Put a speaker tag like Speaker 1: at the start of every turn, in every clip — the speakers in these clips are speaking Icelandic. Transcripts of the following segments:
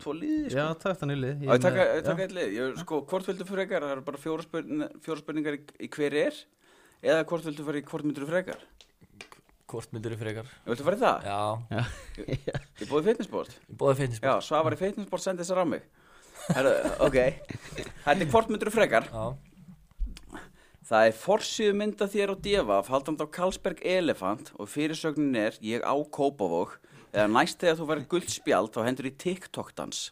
Speaker 1: tvo liði sko.
Speaker 2: Já, takk þannig lið
Speaker 1: Já, ég taka, ég taka eitt lið, ég, sko, hvort vildu frekar það eru bara fjóra, spurn, fjóra spurningar í, í hver er eða hvort vildu fara í hvort myndur frekar
Speaker 3: Hvort myndur þú frekar?
Speaker 1: Viltu fara í það?
Speaker 3: Já,
Speaker 1: Ég búið fitnessport
Speaker 3: ég bóði fitness
Speaker 1: Já, Svavar í fitnessport sendi þessar á mig Heru, Ok, þetta er hvort myndur frekar
Speaker 3: Já,
Speaker 1: Það er forsíðu mynda þér og divaf haldand á Karlsberg Elefant og fyrirsögnin er ég á Kópavóg eða næst þegar þú verður guldspjald þá hendur í TikTok-dans.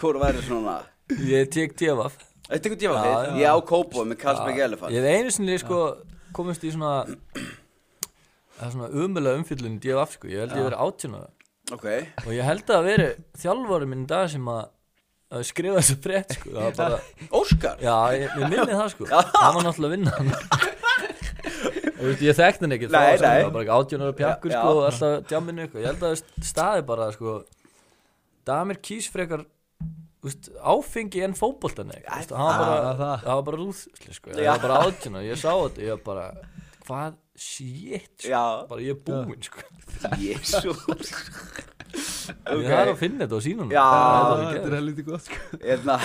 Speaker 1: Hvor væri svona?
Speaker 3: ég tek divaf
Speaker 1: Þetta er divaf
Speaker 3: Já,
Speaker 1: þitt?
Speaker 3: já.
Speaker 1: Ég á Kópavóg með Karlsberg
Speaker 3: Já,
Speaker 1: Elefant.
Speaker 3: Ég hef einu sinni sko komist í svona það er svona umöðlega umfyllun divaf sko, ég held ég verið átjónað
Speaker 1: Ok,
Speaker 3: og ég held að það veri þjálfari minn í dag sem að, að skrifa þessu brett sko, það var bara
Speaker 1: Óskar?
Speaker 3: Já, ég, ég minni það sko Það var náttúrulega að vinna hann Og veist, ég þekkti hann ekki þá
Speaker 1: Nei,
Speaker 3: var sko,
Speaker 1: nei.
Speaker 3: það var bara átjónar og pjakkur
Speaker 1: Já,
Speaker 3: sko
Speaker 1: já.
Speaker 3: og alltaf djáminu eitthvað Ég held að það staði bara sko Damir kýs frekar úst, áfengi en fótboltan eitthvað veist, Það var bara,
Speaker 2: Já, það.
Speaker 3: það var bara rúðsli sko Það var bara átjónar, ég sá þetta Ég var bara, hvað, shit sko.
Speaker 1: Já.
Speaker 3: Bara ég er búinn sko
Speaker 1: Jésús.
Speaker 3: Ég þarf að finna þetta og sína hann
Speaker 1: Já.
Speaker 3: það var
Speaker 2: Þetta
Speaker 3: ekki
Speaker 2: er
Speaker 3: gert.
Speaker 2: helviti gott sko
Speaker 1: Hérna,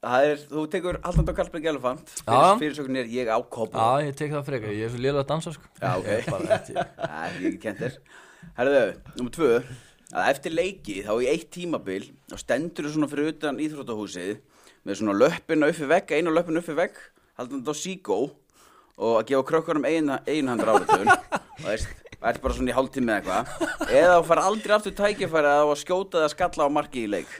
Speaker 1: það er, þú tekur haldand á Karlsberg Elefant,
Speaker 3: Já.
Speaker 1: fyrirsögnin er ég á Kópavóg.
Speaker 3: Já, ég tek það frekar, ég er svo lélega að dansa sko
Speaker 1: Já, ok.
Speaker 3: Ég er bara, þetta-
Speaker 1: Það er ekki kent þér. Herðu, nummer tvö, að eftir leiki þá í eitt tímabil þá stendur þú svona fyrir utan íþróttahúsið með svona löppina upp í vegg, einu löppina upp í vegg, haldan þetta á síkó og að gefa krökkunum einhandra áritun, veist, og ert bara svona í hálftími eða eitthvað, eða þú far aldrei aftur tækifæri að á að skjóta eða skalla á marki í leik.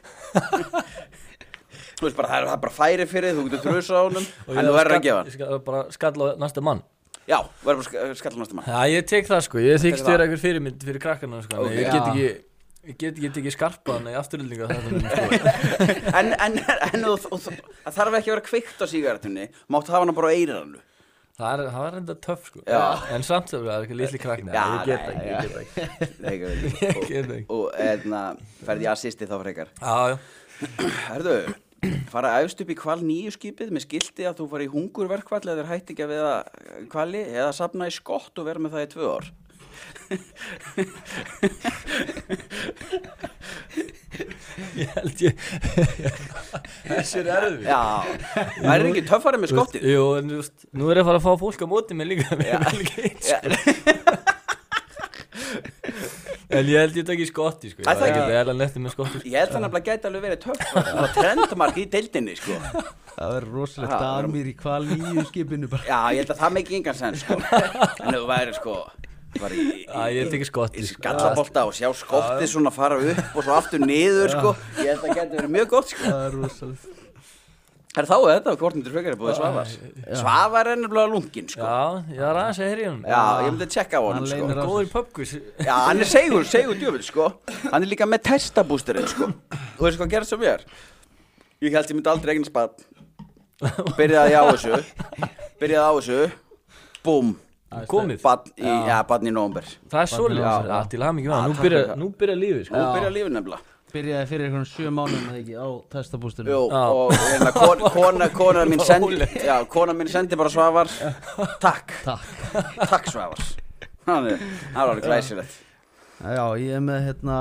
Speaker 1: Þú veist bara, það er það er bara færi fyrir, þig, þú getur trusa á honum,
Speaker 3: Og
Speaker 1: en
Speaker 3: ég
Speaker 1: þú verður að
Speaker 3: skall-
Speaker 1: gefa hann.
Speaker 3: Ég skal bara skalla á næsta mann
Speaker 1: Já, þú verður bara að sk- skalla á næsta mann.
Speaker 3: Já, ég tek það sko, ég þykist
Speaker 1: það.
Speaker 3: vera einhver fyrirmynd fyrir krakkana sko
Speaker 1: Ok.
Speaker 3: okay. Ég get ekki, ég get, get ekki skarpað hann í afturöldinga þetta minn sko
Speaker 1: En, en, en þú, þú, þú, það þarf ekki að vera kveikt á sígarettunni Máttu hafa hana bara á eirannu
Speaker 3: Það er, það er enda töff sko
Speaker 1: Já.
Speaker 3: En samt sem það er eitthvað litli krakkna
Speaker 1: Já,
Speaker 3: Ég get
Speaker 1: nei,
Speaker 3: það ekki,
Speaker 1: já.
Speaker 3: ég get það ekki
Speaker 1: Ég
Speaker 3: Ég get það ekki
Speaker 1: Og hérna, eðna, ferði ég assisti þá frekar
Speaker 3: Já, já,
Speaker 1: Herðu, fara efst upp í kval nýju skipið með skilti að þú fari í hungurverkvall eða þér hætti ekki að veða kvali eða safna í skott og vera með það í tvö ár
Speaker 3: ég held ég Þessi er erfið
Speaker 1: Já, það er ekki töffari með skottið
Speaker 3: Jú, en þú veist, nú er ég að fara að fá fólk á móti mér líka Mér er vel ekki eins
Speaker 1: Já,
Speaker 3: En ég held ég takk í skotti sko Ég
Speaker 1: Æ, það
Speaker 3: var ekki
Speaker 1: ekki.
Speaker 3: að vera nefnir með skotti sko.
Speaker 1: Ég held þannig að gæti alveg verið töff Það var trendmark í deildinni sko
Speaker 2: Það verður rosalegt
Speaker 1: Ha, það
Speaker 2: damir í kval nýju skipinu bara
Speaker 1: Já, ég held að það með ekki engan sen sko En þú væri sko var í, í,
Speaker 3: Já, ég tek í skotti, sko.
Speaker 1: Skallabolta og sjá skottið svona fara upp og svo aftur niður sko Ég held að það geti verið mjög gott sko
Speaker 2: Það er rosalegt
Speaker 1: Það er þá er þetta, hvort myndir frekar er búið Svavars Svavar er nefnilega lungin sko
Speaker 3: Já, ég var aðeins að heyri hún
Speaker 1: Já, ég myndi að tjekka á
Speaker 2: Hann
Speaker 1: honum
Speaker 2: leynir
Speaker 1: sko
Speaker 2: á-
Speaker 3: Góður pubquiz
Speaker 1: Já, hann er segur, segur djöfull sko Hann er líka með testabústerinn sko Þú veist hvað gerðist sem ég er Ég held ég myndi aldrei eignast bann Byrjaði á þessu Byrjaði á þessu Búm
Speaker 3: komið
Speaker 1: Bann í, já, bann í nómber
Speaker 3: það er svolítið
Speaker 2: Já.
Speaker 3: já, til hafði mikið með
Speaker 1: Já, takk
Speaker 3: það nú byrja,
Speaker 1: fyrir
Speaker 3: nú byrja lífið sko.
Speaker 1: Þú byrjaði lífið nefnilega
Speaker 2: Byrjaði fyrir einhvern sjö mánum eða ekki á testabústinu
Speaker 1: Jú,
Speaker 3: Já.
Speaker 1: og hérna, kon, kona, kona mín sendi
Speaker 3: Rólegt.
Speaker 1: Já, kona mín sendi bara Svavar Takk,
Speaker 2: Takk
Speaker 1: takk Svavar Hann er hann var alveg glæsilegt
Speaker 2: Já, ég er með hérna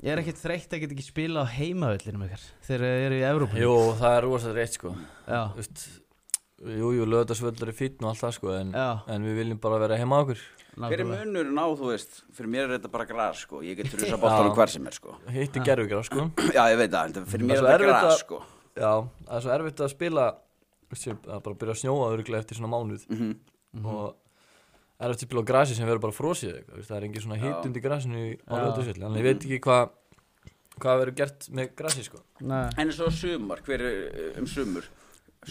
Speaker 2: Ég er ekkert þreytt að geta ekki spila á heimavellinum ykkar Þegar ég er í Evrópa
Speaker 3: jú, það er rosa rétt sko.
Speaker 2: Já,
Speaker 3: Þú veist, jú, jú, löðarsvöldur er fítn og allt það sko, en,
Speaker 2: Já.
Speaker 3: en við viljum bara vera heima á okkur
Speaker 1: Hver er
Speaker 2: nákvæmlega
Speaker 1: munurinn á, þú veist Fyrir mér er þetta bara græs, sko Ég get trusa bóttanum hver sem er, sko
Speaker 3: hitti gerfugjara sko.
Speaker 1: Já, ég veit það, en fyrir mér
Speaker 3: Það
Speaker 1: er þetta
Speaker 3: er svo erfitt
Speaker 1: græs,
Speaker 3: að-
Speaker 1: sko
Speaker 3: já, það er svo erfitt að spila þú veist, sem- að bara byrja að snjóa örgulega eftir svona mánuð og erfitt að spila á grasi sem verður bara frosið eitthvað, þú veist, það er engin svona hitt undir grasinu í- á löðarsvöldur þannig ég veit ekki hvað hvað verður gert með grasi sko.
Speaker 2: Nei,
Speaker 1: En svo sumar, hver er uh, um sumur?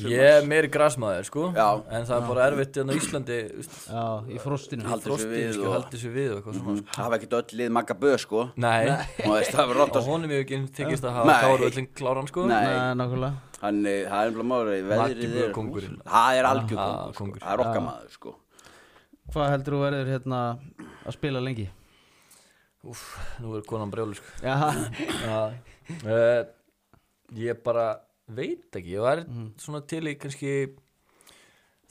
Speaker 3: ég er meiri grasmaður sko,
Speaker 1: Já.
Speaker 3: en það er bara erfitt hérna á Íslandi þú veist,
Speaker 2: já, í frostinu
Speaker 1: Halda þessu
Speaker 3: frostið,
Speaker 1: við
Speaker 3: sko,
Speaker 1: og- Mhm.
Speaker 3: haldi þessu við og eitthvað svona sko.
Speaker 1: Það hafa ekkert öll lið magga böð, sko
Speaker 3: Nei,
Speaker 1: Og veist, það verður
Speaker 3: og
Speaker 1: rótt að
Speaker 3: honum hefur ekki tekist að hafa
Speaker 1: Nei.
Speaker 3: Káru öllin kláran sko
Speaker 1: Nei,
Speaker 2: Nei, nákvæmlega
Speaker 1: hann, eh, það er umlað máli
Speaker 3: Maggi
Speaker 1: Veðrið
Speaker 3: Böð
Speaker 1: er
Speaker 3: kóngurinn.
Speaker 1: Það er algjör
Speaker 3: Ah,
Speaker 1: kóngur, sko
Speaker 3: kóngur.
Speaker 1: Það er okkamaður, sko
Speaker 2: Hvað heldur þú verður hérna að spila lengi?
Speaker 3: Úf, nú er konan brjólu sko
Speaker 2: Já,
Speaker 3: uh, Ég bara veit ekki, ég var
Speaker 1: Mhm.
Speaker 3: svona til í kannski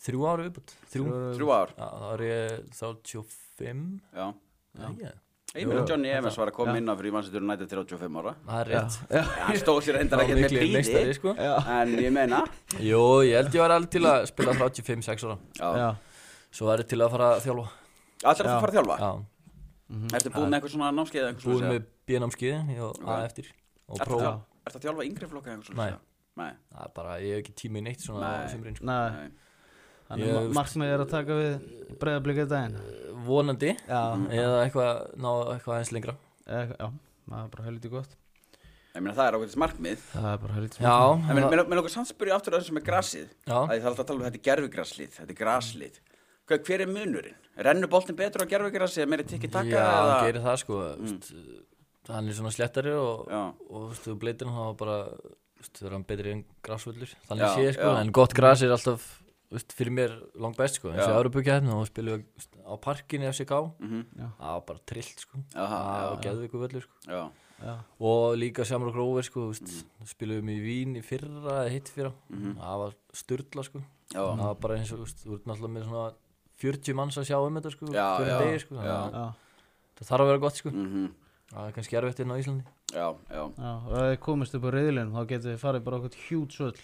Speaker 3: þrjú ára viðbútt Þrjú,
Speaker 1: Þrjú ár,
Speaker 3: Já, þá er ég 35
Speaker 1: já
Speaker 3: Já, ég
Speaker 1: Ég meina
Speaker 3: Jú,
Speaker 1: Johnny Evans var að koma
Speaker 2: Já.
Speaker 1: inn á fyrir mannstur United 35 ára
Speaker 3: það er rétt
Speaker 2: Já.
Speaker 1: Hann stóð sér endara
Speaker 3: Það
Speaker 1: ekki
Speaker 3: var
Speaker 1: með
Speaker 3: miklir meistari,
Speaker 1: príði
Speaker 3: sko.
Speaker 1: En ég meina
Speaker 3: Jó, ég held ég var alveg til að spila 35-6 ára
Speaker 1: já.
Speaker 2: Já.
Speaker 3: Svo var ég til að fara að þjálfa
Speaker 1: Allir að
Speaker 2: Já.
Speaker 1: fara að þjálfa
Speaker 3: Já,
Speaker 1: Ertu búin með eitthvað svona námskeið eða eitthvað
Speaker 3: búin
Speaker 1: svoleiðis,
Speaker 3: með BNM-skiðin Ég var
Speaker 1: Ok.
Speaker 3: að eftir og
Speaker 1: eða? Ertu að
Speaker 3: prófa
Speaker 1: þjálfa- Ertu að þjálfa yngri flokka eða eitthvað svoleiðis,
Speaker 3: Nei.
Speaker 1: eða? Nei
Speaker 3: Það er bara, ég hef ekki tíma í neitt svona
Speaker 1: Nei.
Speaker 3: á sumrin sko.
Speaker 2: Nei,
Speaker 1: Nei.
Speaker 2: þannig
Speaker 3: Ég-
Speaker 2: yeah, markmið er að taka við breyðablíkað daginn
Speaker 3: Vonandi
Speaker 2: Já,
Speaker 3: Eða eitthvað, ná eitthvað eins lengra
Speaker 2: eða, já, það er bara helviti gott
Speaker 1: Ég meina það er ákveðis markmið
Speaker 2: Það er bara helviti
Speaker 3: Já,
Speaker 1: En
Speaker 3: það-
Speaker 1: mér lókar samt spyrja aftur að þessu með grasið
Speaker 3: já
Speaker 1: Það er alltaf að tala um þetta er gerfugraslið, þetta er graslið Hver, hver er munurinn? Rennur boltin betur á gerfugrasið eða meiri tikki taka
Speaker 3: Já,
Speaker 1: eða Mm.
Speaker 3: hann gerir það sko veist, Hann er svona slettari og,
Speaker 1: Já.
Speaker 3: og veist, þú bleitir hann þá bara veist, verður hann betri en grásvöllur
Speaker 1: Já,
Speaker 3: Þannig sé sko,
Speaker 1: já.
Speaker 3: en gott grás er alltaf veist, fyrir mér langt best sko eins og
Speaker 1: Já.
Speaker 3: Árubukjæfni og spilum við veist, á parkinni FCK
Speaker 1: Mhm.
Speaker 2: Já.
Speaker 3: það var bara trillt sko
Speaker 1: Aha, já,
Speaker 3: og geðu ykkur völlur sko
Speaker 1: Já,
Speaker 2: Já,
Speaker 3: og líka Shamrock Rovers sko veist,
Speaker 1: Mm.
Speaker 3: spilum við í Vín í fyrra eða hitt fyrra það var sturla sko
Speaker 1: Mhm. já,
Speaker 3: það var bara eins og veist, þú ert náttúrulega með svona 40 manns að sjá um þetta sko
Speaker 1: Já, já,
Speaker 3: hverjum degi sko
Speaker 1: já.
Speaker 3: þannig að
Speaker 2: já,
Speaker 3: það þarf að vera gott sko
Speaker 1: mhm,
Speaker 3: Það er kannski erfitt inn á Íslandi
Speaker 1: já, já
Speaker 2: já Og ef þið komist upp á reyðlunum þá getur þið farið bara okkur hjút svöll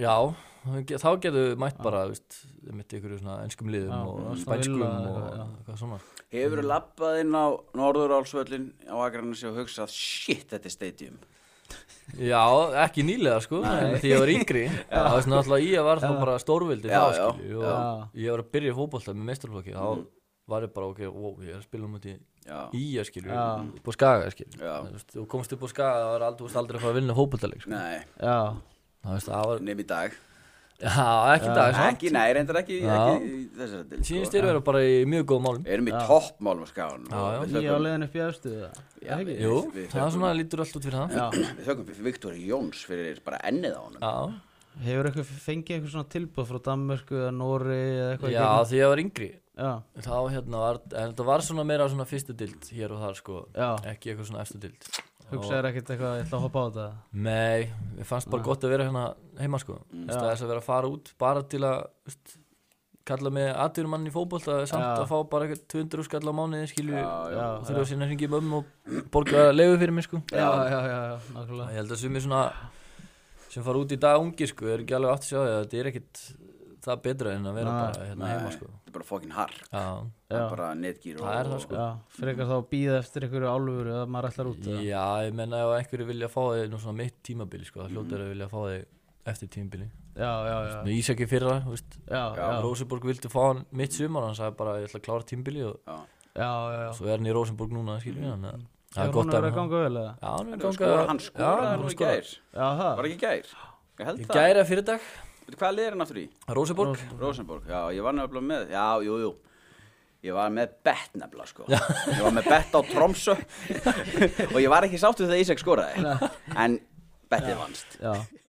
Speaker 3: Já, þá getur við mætt bara veist, mitt ykkur svona enskum liðum
Speaker 2: Já,
Speaker 3: og
Speaker 2: Aston
Speaker 3: spænskum
Speaker 2: Villa
Speaker 3: og
Speaker 2: eitthvað, já.
Speaker 3: eitthvað svona
Speaker 1: Hefur
Speaker 3: Mhm.
Speaker 1: þú lappað inn á Norðurálsvöllin á Akranesi og hugsað shit, þetta er stadium
Speaker 3: Já, ekki nýlega sko, en því ég var yngri Það var svona alltaf ég var þá bara stórvildi
Speaker 1: Já,
Speaker 3: þá
Speaker 1: já,
Speaker 3: skilju og ég var að byrja í fótbolta með meistarflokki þá var ég bara ok, wow, ég er að spila um þetta
Speaker 1: Mm. Já,
Speaker 3: í að skilju,
Speaker 2: Já.
Speaker 3: upp á skaga skilju
Speaker 1: Já.
Speaker 3: Þú veist, Þú komst upp á skaga, það var aldrei, þú varst aldrei að fara að vinna fótboltaleik sko.
Speaker 1: nei,
Speaker 2: Já,
Speaker 3: Það veist, það var,
Speaker 1: nefn í dag
Speaker 3: já, ekki í dag samt.
Speaker 1: Ekki, nei, reyndar ekki,
Speaker 3: Já.
Speaker 1: ekki í þessari del
Speaker 3: Sýnist þér vera bara í mjög góð málum
Speaker 1: Við erum í toppmálum skáðan
Speaker 3: Já, já.
Speaker 1: Við
Speaker 2: nýja á
Speaker 1: þökkum,
Speaker 2: leiðin upp í efstuðu það
Speaker 1: Já,
Speaker 2: ekki?
Speaker 1: við-
Speaker 3: Jú,
Speaker 1: við
Speaker 3: það
Speaker 1: þökkum-
Speaker 3: svona lítur allt út fyrir það
Speaker 2: Já.
Speaker 1: við þökkum fyrir Viktor Jóns fyrir bara ennið á honum
Speaker 3: Já,
Speaker 2: Hefur eitthvað fengið eitthvað svona tilbúð frá Danmörku eða Nóri eða eitthvað í
Speaker 3: já
Speaker 2: gegnum-
Speaker 3: því ég var yngri
Speaker 2: já,
Speaker 3: Þá hérna var, en þetta var svona meira svona fyrstu dild hér og þar sko
Speaker 2: Já.
Speaker 3: Ekki eitthvað svona efstu dild
Speaker 2: hugsaður ekkert eitthvað ég ætla að hoppa á þetta
Speaker 3: Nei, ég fannst bara gott að vera hérna heima sko
Speaker 2: Mm.
Speaker 3: Í stað þess að vera að fara út bara til að veist, kalla með atvinnumann í fótbolta samt
Speaker 2: Já.
Speaker 3: að fá bara eitthvað 200 skall á mánuði skilju
Speaker 1: já.
Speaker 3: og þurfa að sinna hringi um ömmu og borga að leiðu fyrir mig sko
Speaker 2: Já, já, já, já, nákvæmlega
Speaker 3: Ég held að sumir svona sem fara út í dag ungi sko er ekki alveg aftur sjá því að þetta er ekkit það betra en að vera
Speaker 2: Nei.
Speaker 3: bara hérna heima sko
Speaker 1: þetta er bara fokkin hark
Speaker 3: Já,
Speaker 1: Það
Speaker 2: Já.
Speaker 1: er bara netgýr og
Speaker 3: Það er það, sko.
Speaker 2: Já, frekar þá að býða eftir einhverju álfuru eða maður ætlar út eða?
Speaker 3: Já, ég menna ef einhverju vilja fá þig nú svona mitt tímabili sko, það hljótar að vilja fá þig eftir tímabili.
Speaker 2: Já, já, Mm. já
Speaker 3: Nú Ísaki fyrra, þú veist,
Speaker 2: Já, já, já,
Speaker 3: Róseborg vildi fá hann mitt sumar, hann sagði bara ég ætla að klára tímabili og
Speaker 1: Já.
Speaker 2: já, já. Mm.
Speaker 3: svo er hann í Róseborg núna, skilur við hann. þannig að Það
Speaker 2: Hefur
Speaker 3: er
Speaker 2: hún
Speaker 3: gott
Speaker 2: verið
Speaker 3: að
Speaker 2: að
Speaker 3: hann.
Speaker 2: ganga vel eða?
Speaker 3: Já, hann er
Speaker 1: Hann
Speaker 3: að
Speaker 1: skora,
Speaker 3: ganga.
Speaker 1: hann skoraði hann í gær
Speaker 2: Já, það?
Speaker 1: Var ekki í gær? Ég held
Speaker 3: Ég
Speaker 1: það
Speaker 3: gæra fyrir dag,
Speaker 1: Veitu, Hvað liðir hann aftur í?
Speaker 3: Róseborg.
Speaker 1: Rosenborg, já, ég var nefnilega með Já, jú, jú Ég var með bett nefnilega, sko Ég var með bett á Tromsö Og ég var ekki sáttu þegar Ísak skoraði En bettið vannst
Speaker 2: Já,